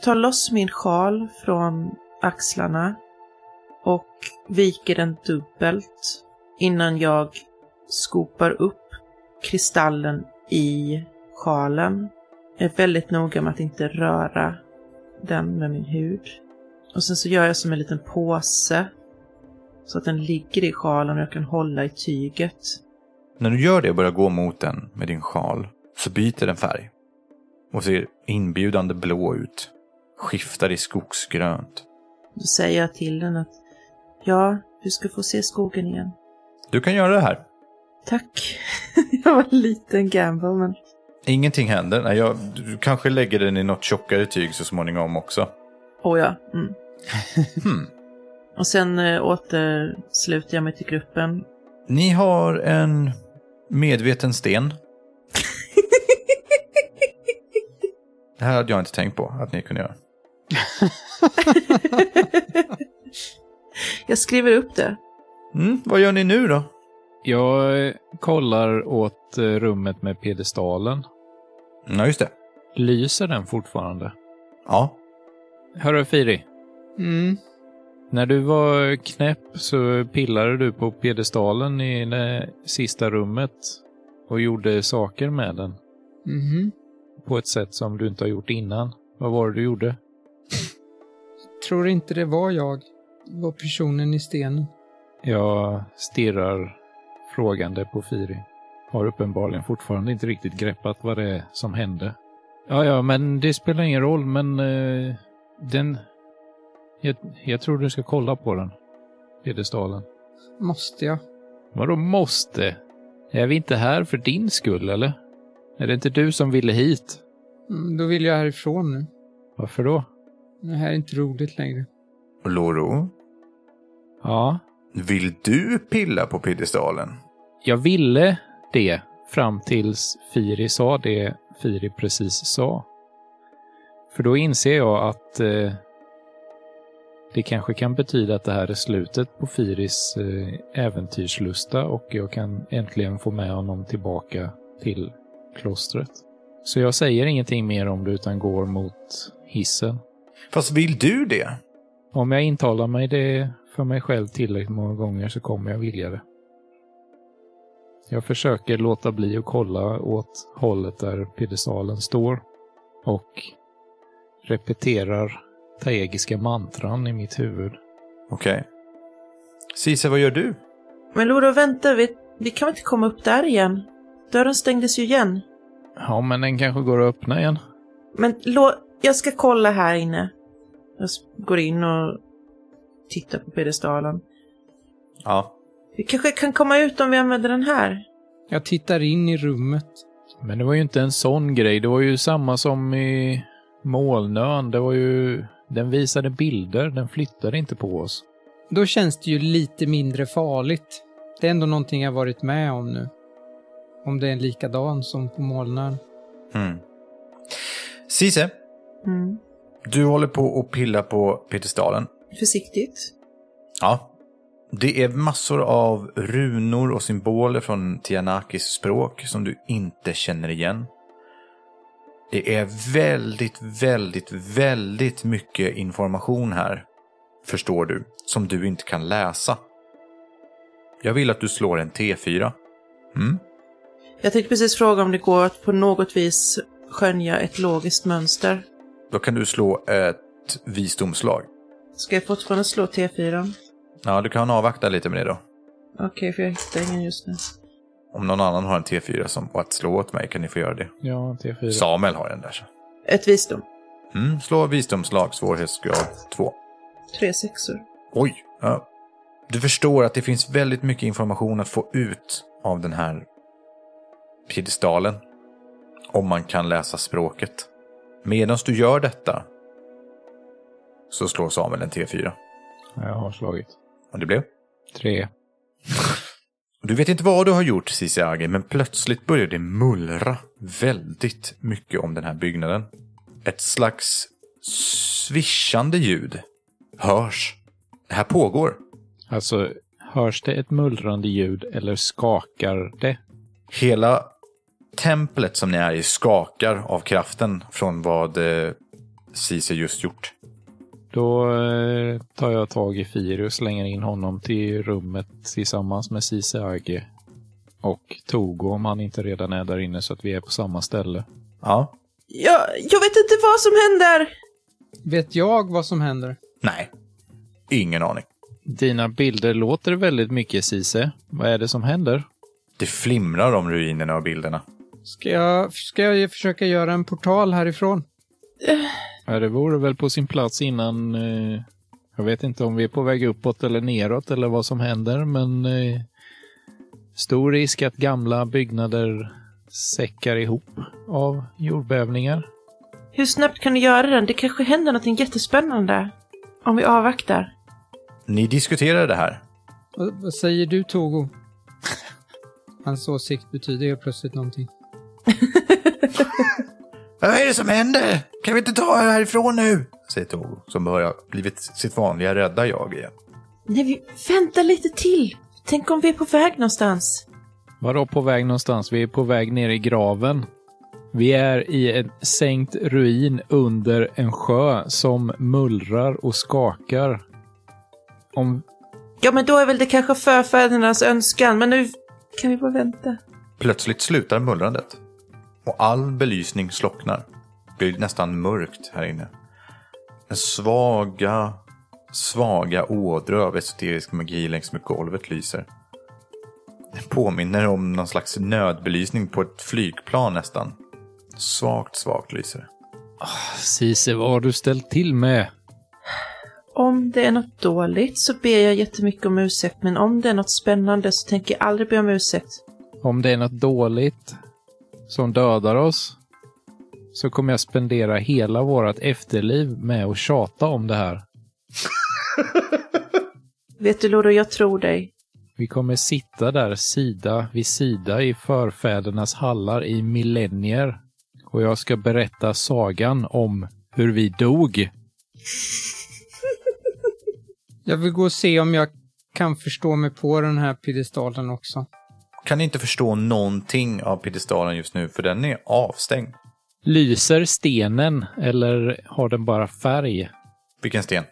S5: tar loss min sjal från axlarna och viker den dubbelt innan jag skopar upp kristallen i sjalen. Jag är väldigt noga med att inte röra den med min hud. Och sen så gör jag som en liten påse så att den ligger i sjalen och jag kan hålla i tyget.
S2: När du gör det och börjar gå mot den med din sjal så byter den färg och ser inbjudande blå ut. Skiftar i skogsgrönt.
S5: Då säger jag till den att ja, du ska få se skogen igen.
S2: Du kan göra det här.
S5: Tack. [LAUGHS] jag var lite en gamble, men
S2: Ingenting händer. Nej, jag, du kanske lägger den i något tjockare tyg så småningom också.
S5: oh ja. Mm.
S2: Hmm.
S5: Och sen eh, återsluter jag mig till gruppen.
S2: Ni har en medveten [LAUGHS] sten. Det här hade jag inte tänkt på att ni kunde göra.
S5: jag skriver upp det.
S2: Mm, vad gör ni nu då?
S4: Jag eh, kollar åt eh, rummet med piedestalen.
S2: Ja, just det.
S4: Lyser den fortfarande?
S2: Ja.
S4: Hörru Firi,
S3: Mm.
S4: när du var knäpp så pillade du på piedestalen i det sista rummet och gjorde saker med den
S3: Mhm.
S4: på ett sätt som du inte har gjort innan. Vad var det du gjorde?
S3: Tror inte det var jag. Det var personen i stenen.
S4: Jag stirrar frågande på Firi. Har uppenbarligen fortfarande inte riktigt greppat vad det är som hände. Ja, ja, men det spelar ingen roll, men eh, den... Jag, jag tror du ska kolla på den. Piedestalen.
S3: Måste jag?
S4: Vadå måste? Är vi inte här för din skull, eller? Är det inte du som ville hit?
S3: Mm, då vill jag härifrån nu.
S4: Varför då?
S3: Det här är inte roligt längre.
S2: Loro,
S4: Ja,
S2: vill du pilla på piedestalen?
S4: jag ville det fram tills Firi sa det Firi precis sa. För då inser jag att eh, det kanske kan betyda att det här är slutet på Firis eh, äventyrslusta och jag kan äntligen få med honom tillbaka till klostret. Så jag säger ingenting mer om det utan går mot hissen.
S2: Fast vill du det?
S4: Om jag intalar mig det för mig själv tillräckligt många gånger så kommer jag vilja det. Jag försöker låta bli att kolla åt hållet där piedestalen står och repeterar taegiska mantran i mitt huvud.
S2: Okej. Cisa, vad gör du?
S5: Men Loro, vänta, vi, vi kan väl inte komma upp där igen? Dörren stängdes ju igen.
S4: Ja, men den kanske går att öppna igen.
S5: Men lå, jag ska kolla här inne. Jag s- går in och tittar på piedestalen.
S2: Ja.
S5: Vi kanske kan komma ut om vi använder den här.
S3: Jag tittar in i rummet.
S4: Men det var ju inte en sån grej. Det var ju samma som i Molnön. Det var ju... Den visade bilder. Den flyttade inte på oss.
S3: Då känns det ju lite mindre farligt. Det är ändå någonting jag varit med om nu. Om det är en likadan som på molnen.
S2: Mm. Cise,
S5: Mm.
S2: du håller på och pillar på piedestalen.
S5: Försiktigt.
S2: Ja. Det är massor av runor och symboler från Tianakis språk som du inte känner igen. Det är väldigt, väldigt, väldigt mycket information här, förstår du, som du inte kan läsa. Jag vill att du slår en T4. Mm?
S5: Jag tänkte precis fråga om det går att på något vis skönja ett logiskt mönster.
S2: Då kan du slå ett visdomslag.
S5: Ska jag fortfarande slå T4?
S2: Ja, du kan avvakta lite med det då.
S5: Okej, för jag hittar ingen just nu.
S2: Om någon annan har en T4 som, och att slå åt mig kan ni få göra det.
S4: Ja, T4.
S2: Samuel har en där. Så.
S5: Ett visdom.
S2: Mm, slå visdomslag, svårighetsgrad 2.
S5: Tre sexor.
S2: Oj! Ja. Du förstår att det finns väldigt mycket information att få ut av den här piedestalen. Om man kan läsa språket. Medan du gör detta så slår Samuel en T4.
S4: Jag har slagit.
S2: Och det blev?
S4: Tre.
S2: Du vet inte vad du har gjort, Cissi Agi, men plötsligt börjar det mullra väldigt mycket om den här byggnaden. Ett slags svischande ljud hörs. Det här pågår.
S4: Alltså, hörs det ett mullrande ljud eller skakar det?
S2: Hela templet som ni är i skakar av kraften från vad eh, Cissi just gjort.
S4: Då eh, tar jag tag i Firi och slänger in honom till rummet tillsammans med Cise Age och Togo om han inte redan är där inne så att vi är på samma ställe.
S2: Ja.
S5: Jag, jag vet inte vad som händer!
S3: Vet jag vad som händer?
S2: Nej. Ingen aning.
S4: Dina bilder låter väldigt mycket Cise. Vad är det som händer?
S2: Det flimrar om ruinerna och bilderna.
S3: Ska jag, ska jag försöka göra en portal härifrån?
S4: Ja, det vore väl på sin plats innan... Eh, jag vet inte om vi är på väg uppåt eller neråt eller vad som händer, men... Eh, stor risk att gamla byggnader säckar ihop av jordbävningar.
S5: Hur snabbt kan du göra den? Det kanske händer någonting jättespännande. Om vi avvaktar.
S2: Ni diskuterar det här.
S3: Vad, vad säger du Togo? [LAUGHS] Hans åsikt betyder ju plötsligt någonting.
S2: Vad är det som händer? Kan vi inte ta er härifrån nu? Säger Togo, som börjar blivit sitt vanliga rädda jag igen.
S5: Nej, vi väntar lite till. Tänk om vi är på väg någonstans.
S4: Vadå på väg någonstans? Vi är på väg ner i graven. Vi är i en sänkt ruin under en sjö som mullrar och skakar. Om...
S5: Ja, men då är väl det kanske förfädernas önskan, men nu kan vi bara vänta.
S2: Plötsligt slutar mullrandet. Och all belysning slocknar. Det blir nästan mörkt här inne. Den svaga, svaga ådror av esoterisk magi längs med golvet lyser. Det påminner om någon slags nödbelysning på ett flygplan nästan. Svagt, svagt lyser det.
S4: Cise, vad har du ställt till med?
S5: Om det är något dåligt så ber jag jättemycket om ursäkt, men om det är något spännande så tänker jag aldrig be om ursäkt.
S4: Om det är något dåligt som dödar oss så kommer jag spendera hela vårt efterliv med att tjata om det här.
S5: Vet du, Loro, jag tror dig.
S4: Vi kommer sitta där sida vid sida i förfädernas hallar i millennier. Och jag ska berätta sagan om hur vi dog.
S3: Jag vill gå och se om jag kan förstå mig på den här piedestalen också.
S2: Kan inte förstå någonting av piedestalen just nu för den är avstängd.
S4: Lyser stenen eller har den bara färg?
S2: Vilken sten?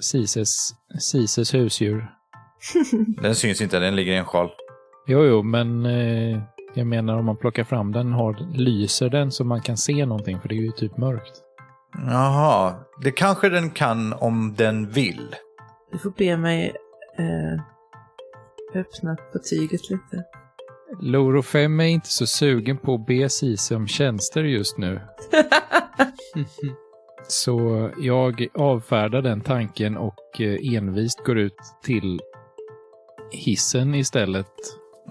S4: Sises, Sises husdjur.
S2: Den syns inte, den ligger i en sjal.
S4: Jo, jo, men eh, jag menar om man plockar fram den, har, lyser den så man kan se någonting? För det är ju typ mörkt.
S2: Jaha, det kanske den kan om den vill.
S5: Du får be mig eh, öppna på tyget lite.
S4: Loro 5 är inte så sugen på att be Sise om tjänster
S2: [LAUGHS]
S4: just nu. Så jag avfärdar den tanken och eh, envist går ut till hissen istället.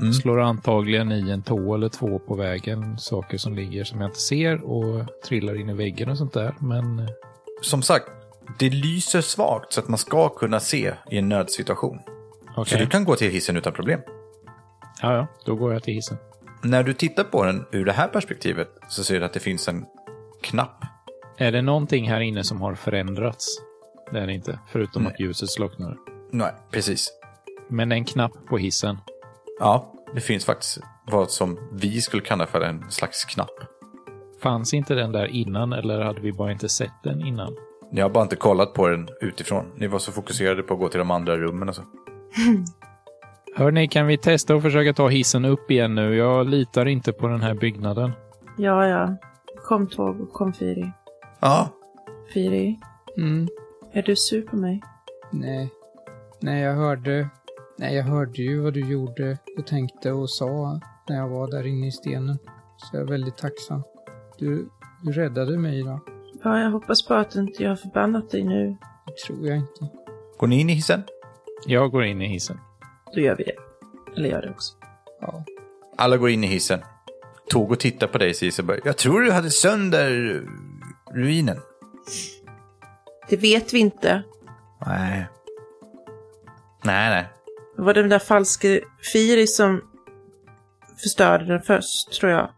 S2: Mm.
S4: Slår antagligen i en tå eller två på vägen, saker som ligger som jag inte ser och trillar in i väggen och sånt där. Men eh,
S2: Som sagt, det lyser svagt så att man ska kunna se i en nödsituation. Så
S4: okej,
S2: du kan gå till hissen utan problem.
S4: ja, ja, då går jag till hissen.
S2: När du tittar på den ur det här perspektivet så ser du att det finns en knapp.
S4: Är det någonting här inne som har förändrats? Det är det inte, förutom att ljuset slocknar.
S2: Nej, precis.
S4: Men en knapp på hissen.
S2: Ja, det finns faktiskt vad som vi skulle kalla för en slags knapp.
S4: Fanns inte den där innan eller hade vi bara inte sett den innan?
S2: Ni har bara inte kollat på den utifrån. Ni var så fokuserade på att gå till de andra rummen och så.
S4: Hörni, kan vi testa att försöka ta hissen upp igen nu? Jag litar inte på den här byggnaden.
S5: Ja, ja. Kom tåg och kom Firi.
S2: Ja,
S5: Firi,
S3: Mm.
S5: är du sur på mig?
S3: Nej. Nej, jag hörde... Nej, jag hörde ju vad du gjorde och tänkte och sa när jag var där inne i stenen. Så jag är väldigt tacksam. Du, du räddade mig idag.
S5: Ja, jag hoppas bara att inte jag har förbannat dig nu.
S3: Det tror jag inte.
S2: går ni in i hissen?
S4: Jag går in i hissen.
S5: Då gör vi det. Eller gör det också.
S3: Ja.
S2: Alla går in i hissen. Tog och tittar på dig, Ciseberg. Jag tror du hade sönder ruinen.
S5: Det vet vi inte.
S2: Nej. Nej, nej.
S5: Det var den där falske Firi som förstörde den först, tror jag.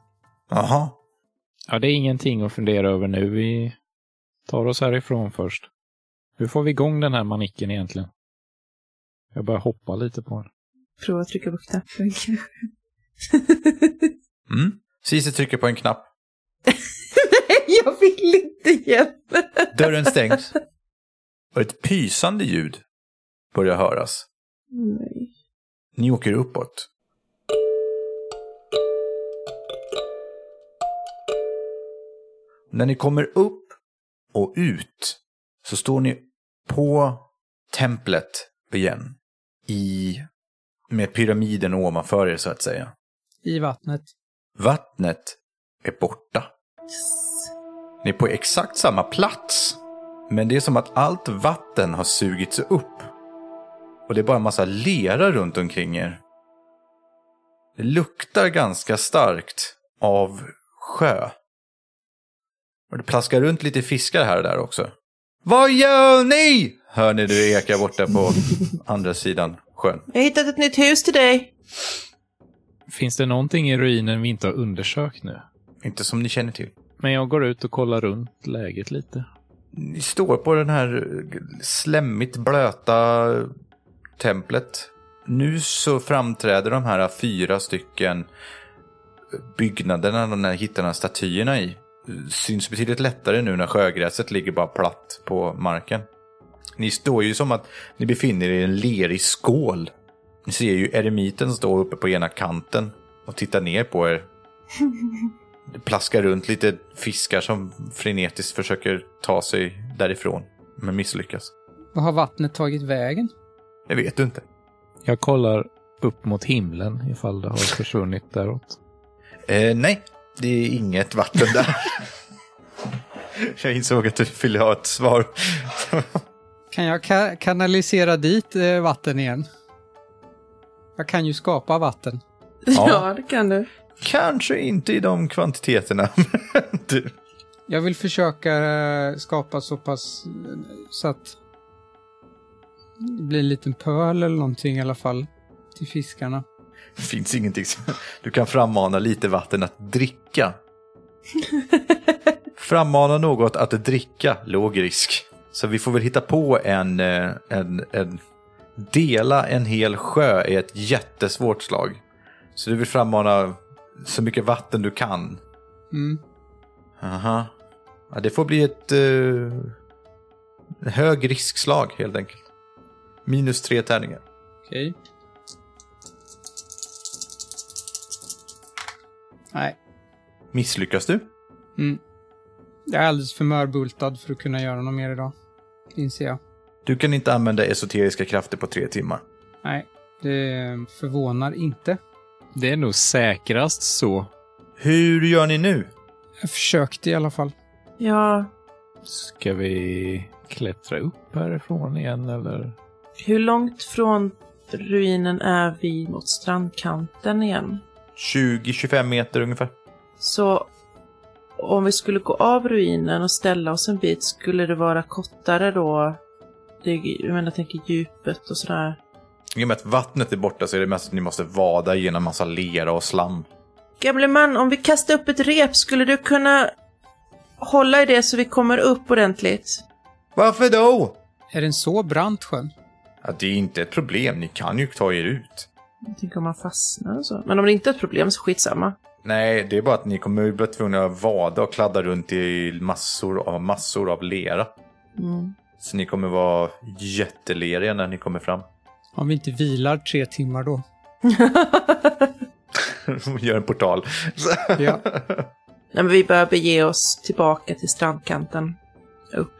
S2: Jaha.
S4: Ja, det är ingenting att fundera över nu. Vi tar oss härifrån först. Hur får vi igång den här manicken egentligen? Jag börjar hoppa lite på den.
S5: Prova att trycka på knappen kanske.
S2: Mm. Cise trycker på en knapp.
S5: Nej, [LAUGHS] jag vill inte igen.
S2: Dörren [LAUGHS] stängs. Och ett pysande ljud börjar höras.
S5: Nej.
S2: Ni åker uppåt. När ni kommer upp och ut så står ni på templet igen. I, med pyramiden ovanför er så att säga.
S3: I vattnet.
S2: Vattnet är borta. Ni är på exakt samma plats. Men det är som att allt vatten har sugits upp. Och det är bara en massa lera runt omkring er. Det luktar ganska starkt av sjö. Och det plaskar runt lite fiskar här och där också. Vad gör ni? Hör ni det ekar borta på andra sidan sjön.
S5: Jag har hittat ett nytt hus till dig.
S4: Finns det någonting i ruinen vi inte har undersökt nu?
S2: Inte som ni känner till.
S4: Men jag går ut och kollar runt läget lite.
S2: Ni står på den här slemmigt blöta templet. Nu så framträder de här fyra stycken byggnaderna, de här hittarna statyerna i. Syns betydligt lättare nu när sjögräset ligger bara platt på marken. Ni står ju som att ni befinner er i en lerig skål. Ni ser ju eremiten stå uppe på ena kanten och titta ner på er det plaskar runt lite fiskar som frenetiskt försöker ta sig därifrån, men misslyckas.
S3: Vad har vattnet tagit vägen?
S2: Det vet du inte.
S4: Jag kollar upp mot himlen ifall det har försvunnit däråt.
S2: Eh, nej, det är inget vatten där. [LAUGHS] Jag insåg att du ville ha ett svar.
S3: Kan jag ka- kanalisera dit eh, vatten igen? Jag kan ju skapa vatten.
S5: Ja, det kan du.
S2: Kanske inte i de kvantiteterna. [LAUGHS] men du.
S3: Jag vill försöka eh, skapa så pass eh, så att det blir en liten pöl eller någonting i alla fall till fiskarna.
S2: Det [LAUGHS] finns ingenting som... Du kan frammana lite vatten att dricka. frammana något att dricka, låg risk. Så vi får väl hitta på en, eh, en, en dela en hel sjö är ett jättesvårt slag. Så du vill frammana så mycket vatten du kan.
S3: Mm.
S2: Aha. Ja, det får bli ett eh, hög riskslag helt enkelt. Minus tre tärningar.
S3: Okej. Nej, mm.
S2: Misslyckas du?
S3: jag är alldeles för mörbultad för att kunna göra något mer idag. Inser jag.
S2: Du kan inte använda esoteriska krafter på tre timmar.
S3: Nej, det förvånar inte.
S4: Det är nog säkrast så.
S2: Hur gör ni nu?
S3: Jag försökte i alla fall.
S5: Ja,
S4: Ska vi klättra upp härifrån igen eller?
S5: hur långt från ruinen är vi mot strandkanten igen?
S2: 20-25 meter ungefär.
S5: Så om vi skulle gå av ruinen och ställa oss en bit, skulle det vara kortare då? Det, jag menar, jag tänker djupet och sådär.
S2: I och med att vattnet är borta så är det mest att ni måste vada genom massa lera och slam.
S5: Gamle man, om vi kastar upp ett rep, skulle du kunna hålla i det så vi kommer upp ordentligt?
S2: Varför då?
S3: Är den så brant sjön?
S2: Ja, det är inte ett problem, ni kan ju ta er ut.
S5: Jag tänker om man fastnar och så. Men om det inte är ett problem så skitsamma.
S2: Nej, det är bara att ni kommer ju bli tvungna att vada och kladda runt i massor av, massor av lera.
S5: Mm.
S2: Så ni kommer vara jätteleriga när ni kommer fram. [LAUGHS]
S3: Om vi inte vilar tre timmar då.
S2: Gör en [LAUGHS] portal.
S3: Ja.
S5: Nej, men vi bör bege oss tillbaka till strandkanten. Upp.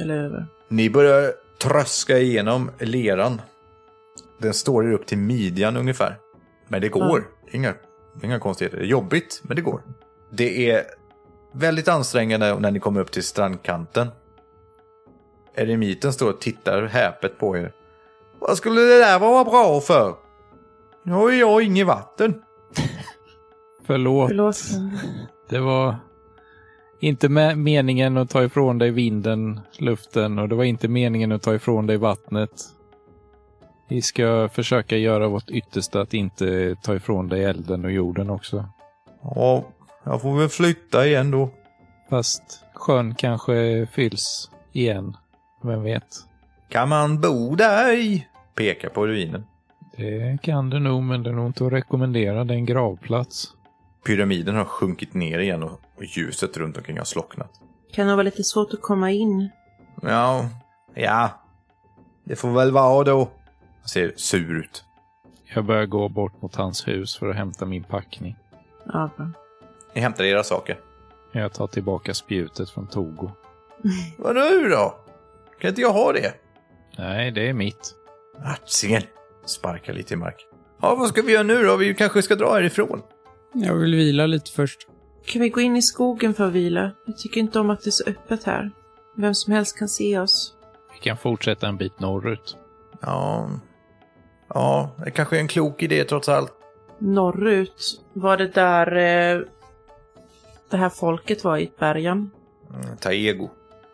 S5: Eller över.
S2: Ni börjar tröska igenom leran. Den står er upp till midjan ungefär. Men det går. Det är Inga, det är inga konstigheter. Det är jobbigt, men det går. Det är väldigt ansträngande när ni kommer upp till strandkanten. Eremiten står och tittar häpet på er. Vad skulle det där vara bra för? Nu har ju jag inget vatten.
S4: Förlåt.
S5: Förlåt.
S4: Det var inte me- meningen att ta ifrån dig vinden, luften och det var inte meningen att ta ifrån dig vattnet. Vi ska försöka göra vårt yttersta att inte ta ifrån dig elden och jorden också.
S2: Ja, jag får väl flytta igen då.
S4: Fast sjön kanske fylls igen. Vem vet?
S2: Kan man bo där i? Pekar på ruinen.
S4: Det kan det nog, men det är nog inte att rekommendera. Det är en gravplats.
S2: Pyramiden har sjunkit ner igen och och ljuset runt omkring har slocknat.
S5: Kan nog vara lite svårt att komma in.
S2: Ja, ja. Det får väl vara då. Han ser sur ut.
S4: Jag börjar gå bort mot hans hus för att hämta min packning.
S5: Ja, bra.
S2: Ni hämtar era saker.
S4: Jag tar tillbaka spjutet från Togo.
S2: Vad nu då? Kan inte jag ha det?
S4: Nej, det är mitt.
S2: Ratsingen. Sparkar lite i mark. Ja, vad ska vi göra nu då? Vi kanske ska dra härifrån.
S3: Jag vill vila lite först.
S5: Kan vi gå in i skogen för att vila? Jag tycker inte om att det är så öppet här. Vem som helst kan se oss.
S4: Vi kan fortsätta en bit norrut.
S2: Ja. Ja, det kanske är en klok idé trots allt.
S5: Norrut var det där eh, det här folket var i bergen.
S2: Mm, Taego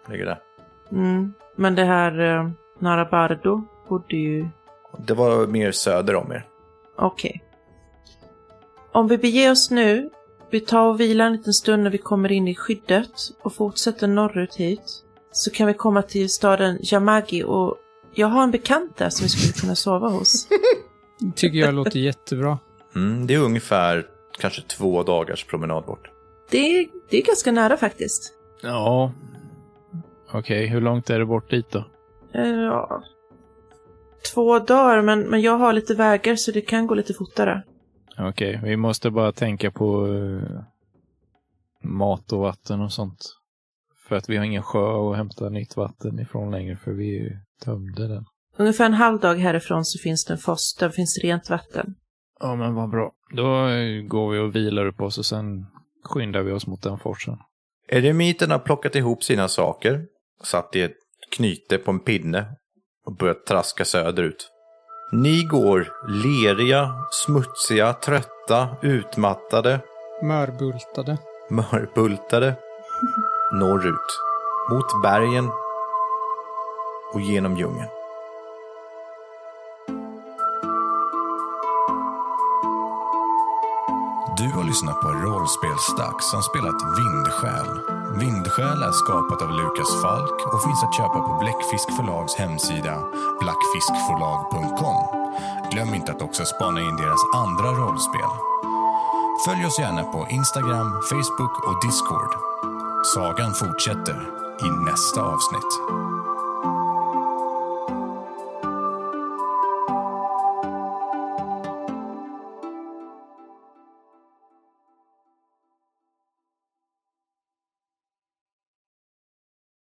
S2: ligger där.
S5: Mm. Men det här eh, Narabardo bodde ju...
S2: Det var mer söder om er.
S5: Okej. Om vi beger oss nu, vi tar och vilar en liten stund när vi kommer in i skyddet och fortsätter norrut hit, så kan vi komma till staden Yamagi och jag har en bekant där som vi skulle kunna sova hos.
S3: Tycker jag låter jättebra.
S2: Mm, det är ungefär kanske två dagars promenad bort.
S5: Det är, det är ganska nära faktiskt.
S4: Ja. Okej, hur långt är det bort dit då?
S5: Eh, Ja. Två dagar, men, men jag har lite vägar så det kan gå lite fortare.
S4: Okej, vi måste bara tänka på eh, mat och vatten och sånt. För att vi har ingen sjö att hämta nytt vatten ifrån längre, för vi tömde den.
S5: Ungefär en halv dag härifrån så finns det en fors, där finns rent vatten.
S4: Ja, men vad bra. Då eh, går vi och vilar upp oss och sen skyndar vi oss mot den forsen.
S2: Eremiten har plockat ihop sina saker, satt i ett knyte på en pinne och börjat traska söderut. Ni går leriga, smutsiga, trötta, utmattade,
S3: Mörbultade.
S2: mörbultade norrut. Mot bergen och genom djungeln.
S1: Du har lyssnar på Rollspelsdags som spelat Vindsjäl. Vindsjäl är skapat av Lukas Falk och finns att köpa på Bläckfisk förlags hemsida blackfiskförlag.com. Glöm inte att också spana in deras andra rollspel. Följ oss gärna på Instagram, Facebook och Discord. Sagan fortsätter i nästa avsnitt.